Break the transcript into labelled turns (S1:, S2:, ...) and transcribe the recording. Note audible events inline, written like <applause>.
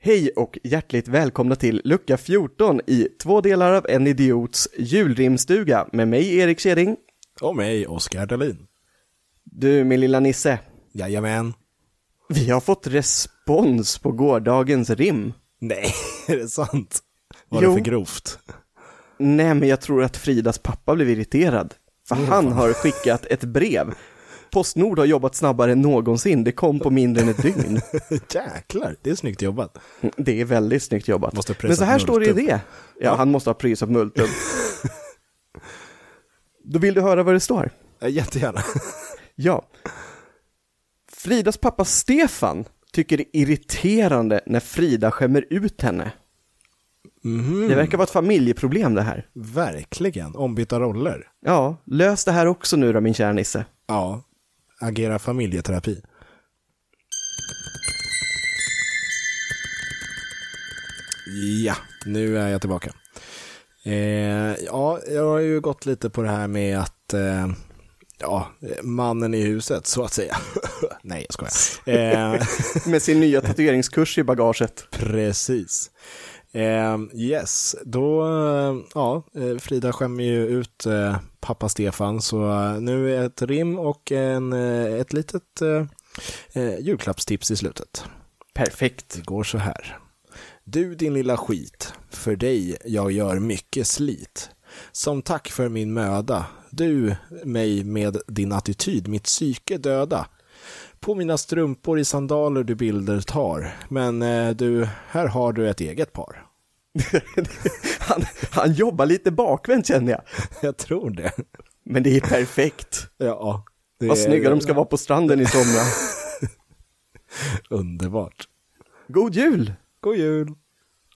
S1: Hej och hjärtligt välkomna till lucka 14 i två delar av en idiots julrimstuga med mig Erik Kjering.
S2: Och mig, Oskar Dahlin.
S1: Du min lilla Nisse,
S2: Jajamän.
S1: vi har fått respons på gårdagens rim.
S2: Nej, <laughs> är det sant? Var
S1: Jo.
S2: det för grovt? <laughs>
S1: Nej men jag tror att Fridas pappa blev irriterad, för
S2: Mm.
S1: han har skickat ett brev. Postnord har jobbat snabbare än någonsin, det kom på mindre än ett dygn.
S2: <laughs> Jäklar, det är snyggt jobbat.
S1: Det är väldigt snyggt jobbat.
S2: Måste ha pressat
S1: Men så här står det i
S2: multum.
S1: det. Ja, han måste ha prysat
S2: <laughs>
S1: multum. Då vill du höra vad det står?
S2: Ja, Eh, Jättegärna. <laughs>
S1: Ja. Fridas pappa Stefan tycker det är irriterande när Frida skämmer ut henne. Det verkar vara ett familjeproblem det här.
S2: Mhm, Verkligen, ombytta roller.
S1: Ja, lös det här också nu då min kära Nisse.
S2: Ja, agera familjeterapi. Ja, nu är jag tillbaka. Eh, ja, jag har ju gått lite på det här med att eh, ja, mannen i huset, så att säga. <laughs> Nej, jag skojar. Eh,
S1: Med sin nya tatueringskurs i bagaget.
S2: Precis. Eh, yes, då, eh, ja, eh, Frida skämmer ju ut eh, pappa Stefan, så eh, nu är ett rim och en, eh, ett litet eh, eh, julklappstips i slutet.
S1: Perfekt. <laughs>
S2: Det går så här. Du din lilla skit, för dig jag gör mycket slit. Som tack för min möda, du mig med din attityd mitt psyke döda. På mina strumpor i sandaler du bilder tar, men eh, du, här har du ett eget par. <laughs>
S1: Han, han jobbar lite bakvänt känner jag.
S2: Jag tror det.
S1: Men det är perfekt.
S2: Ja. Det
S1: Vad
S2: är
S1: snygga de ska vara på stranden i sommar.
S2: Underbart.
S1: God jul!
S2: God jul!